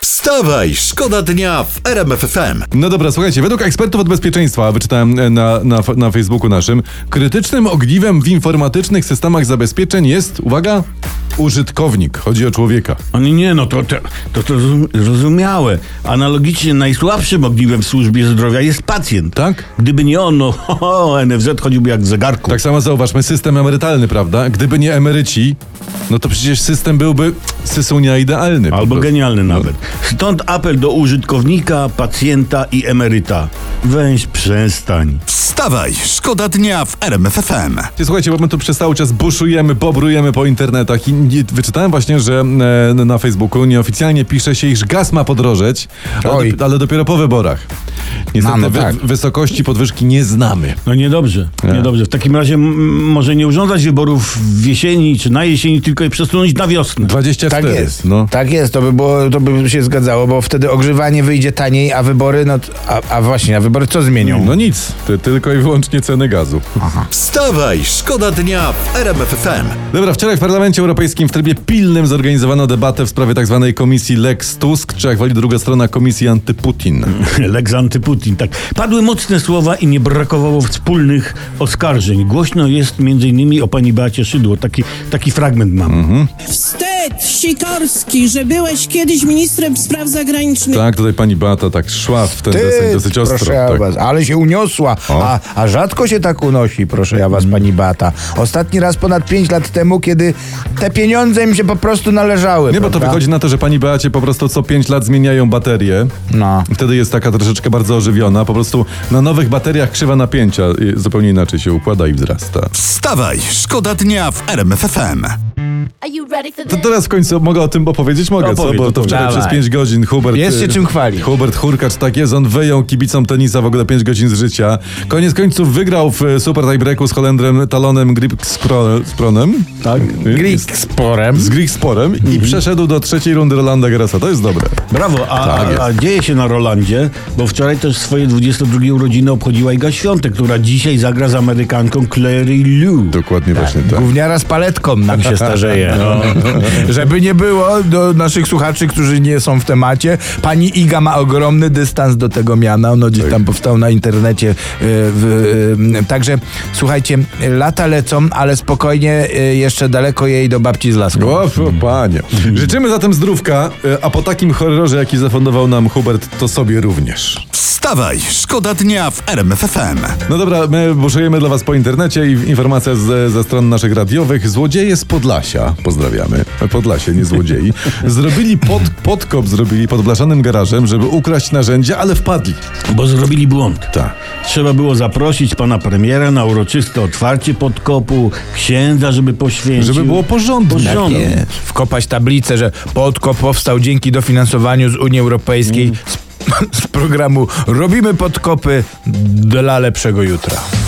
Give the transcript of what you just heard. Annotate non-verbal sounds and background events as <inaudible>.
Wstawaj, szkoda dnia w RMFFM. No dobra, słuchajcie, według ekspertów od bezpieczeństwa, wyczytałem e, na, na, f- na Facebooku naszym, krytycznym ogniwem w informatycznych systemach zabezpieczeń jest, uwaga, użytkownik. Chodzi o człowieka. No nie, no to, to, to, to zrozum- zrozumiałe. Analogicznie najsłabszym ogniwem w służbie zdrowia jest pacjent. Tak? Gdyby nie on, no <laughs> ho, ho, NFZ chodziłby jak w zegarku. Tak samo zauważmy system emerytalny, prawda? Gdyby nie emeryci, no to przecież system byłby sysunia idealny. po Albo prostu. genialny nawet. Stąd apel do użytkownika, pacjenta i emeryta. Weź przestań. Wstawaj, szkoda dnia w RMFFM. Ty, Słuchajcie, bo my tu przez cały czas buszujemy, bobrujemy po internetach i nie- wyczytałem właśnie, że e, na Facebooku nieoficjalnie pisze się, iż gaz ma podrożeć, ale, Oj. dop- ale dopiero po wyborach. Niestety No, no wy- tak. wysokości podwyżki nie znamy. No niedobrze, niedobrze. W takim razie m- może nie urządzać wyborów w jesieni czy na jesieni, tylko je przesunąć na wiosnę. 24. Tak jest. No. Tak jest, to by, było, to by się zgadzało, bo wtedy ogrzewanie wyjdzie taniej, a wybory, no t- a, a właśnie, a wybory co zmienią? No nic, ty, tylko i wyłącznie ceny gazu. Wstawaj, szkoda dnia w RMFFM. Dobra, wczoraj w Parlamencie Europejskim w trybie pilnym zorganizowano debatę w sprawie tzw. komisji Lex Tusk, czy jak woli druga strona komisji <laughs> antyputin. <laughs> Lex antyputin, tak. Padły mocne słowa i nie brakowało wspólnych oskarżeń. Głośno jest m.in. o pani Beacie Szydło. Taki, taki fragment mam. Mhm. Wstyd, Sikorski, że byłeś kiedyś ministrem spraw zagranicznych. Tak, tutaj pani Beata tak szła w ten deseń Ty, dosyć ostro. proszę ja tak. was, ale się uniosła, a, a rzadko się tak unosi, proszę ja was, pani Bata. Ostatni raz ponad 5 lat temu, kiedy te pieniądze im się po prostu należały. Nie, bo to prawda? wychodzi na to, że pani Beacie po prostu co 5 lat zmieniają baterie. No. I Wtedy jest taka troszeczkę bardzo ożywiona. Po prostu na nowych bateriach krzywa napięcia y, zupełnie inaczej się układa i wzrasta. Wstawaj, szkoda dnia w RMFFM. Are you ready for To this? teraz w końcu mogę o tym opowiedzieć? Mogę, co? Opowiedz, Bo to opowiedz. wczoraj Dawaj. przez 5 godzin Hubert... Jest się y, czym chwalić. Hubert Hurkacz, tak jest, on wyjął kibicom tenisa w ogóle 5 godzin z życia. Koniec końców wygrał w y, super tiebreaku z Holendrem Talonem Gripspronem. Tak. Grig sporem. Z Grigsporem i Mhm. przeszedł do trzeciej rundy Rolanda Garasa. To jest dobre. Brawo, a, Tak a, a dzieje się na Rolandzie, bo wczoraj też swoje 22 urodziny obchodziła Iga Świątek, która dzisiaj zagra z Amerykanką Clary Lou. Dokładnie właśnie tak. Gówniara z paletką nam się <laughs> starzeje. No. Żeby nie było do naszych słuchaczy, którzy nie są w temacie, pani Iga ma ogromny dystans do tego miana. Ono gdzieś tam powstało na internecie. y, w- y, Także słuchajcie, lata lecą, ale spokojnie y, jeszcze daleko jej do babci z laską. O, o, panie. Życzymy zatem zdrówka, y, a po takim horrorze, jaki zafundował nam Hubert, to sobie również. Wstawaj, szkoda dnia w RMFFM. No dobra, my buszujemy dla was po internecie i informacja z, ze stron naszych radiowych. Złodzieje z Podlasia, pozdrawiamy. Podlasie, nie złodziei. Zrobili pod, podkop, zrobili pod blaszanym garażem, żeby ukraść narzędzia, ale wpadli. Bo zrobili błąd. Tak. Trzeba było zaprosić pana premiera na uroczyste otwarcie podkopu, księdza, żeby poświęcił. Żeby było Tak porządnie. Porządek. Nie, Wkopać Tak tablicę, że podkop powstał dzięki dofinansowaniu z Unii <laughs> Europejskiej z, z programu Robimy podkopy dla lepszego jutra.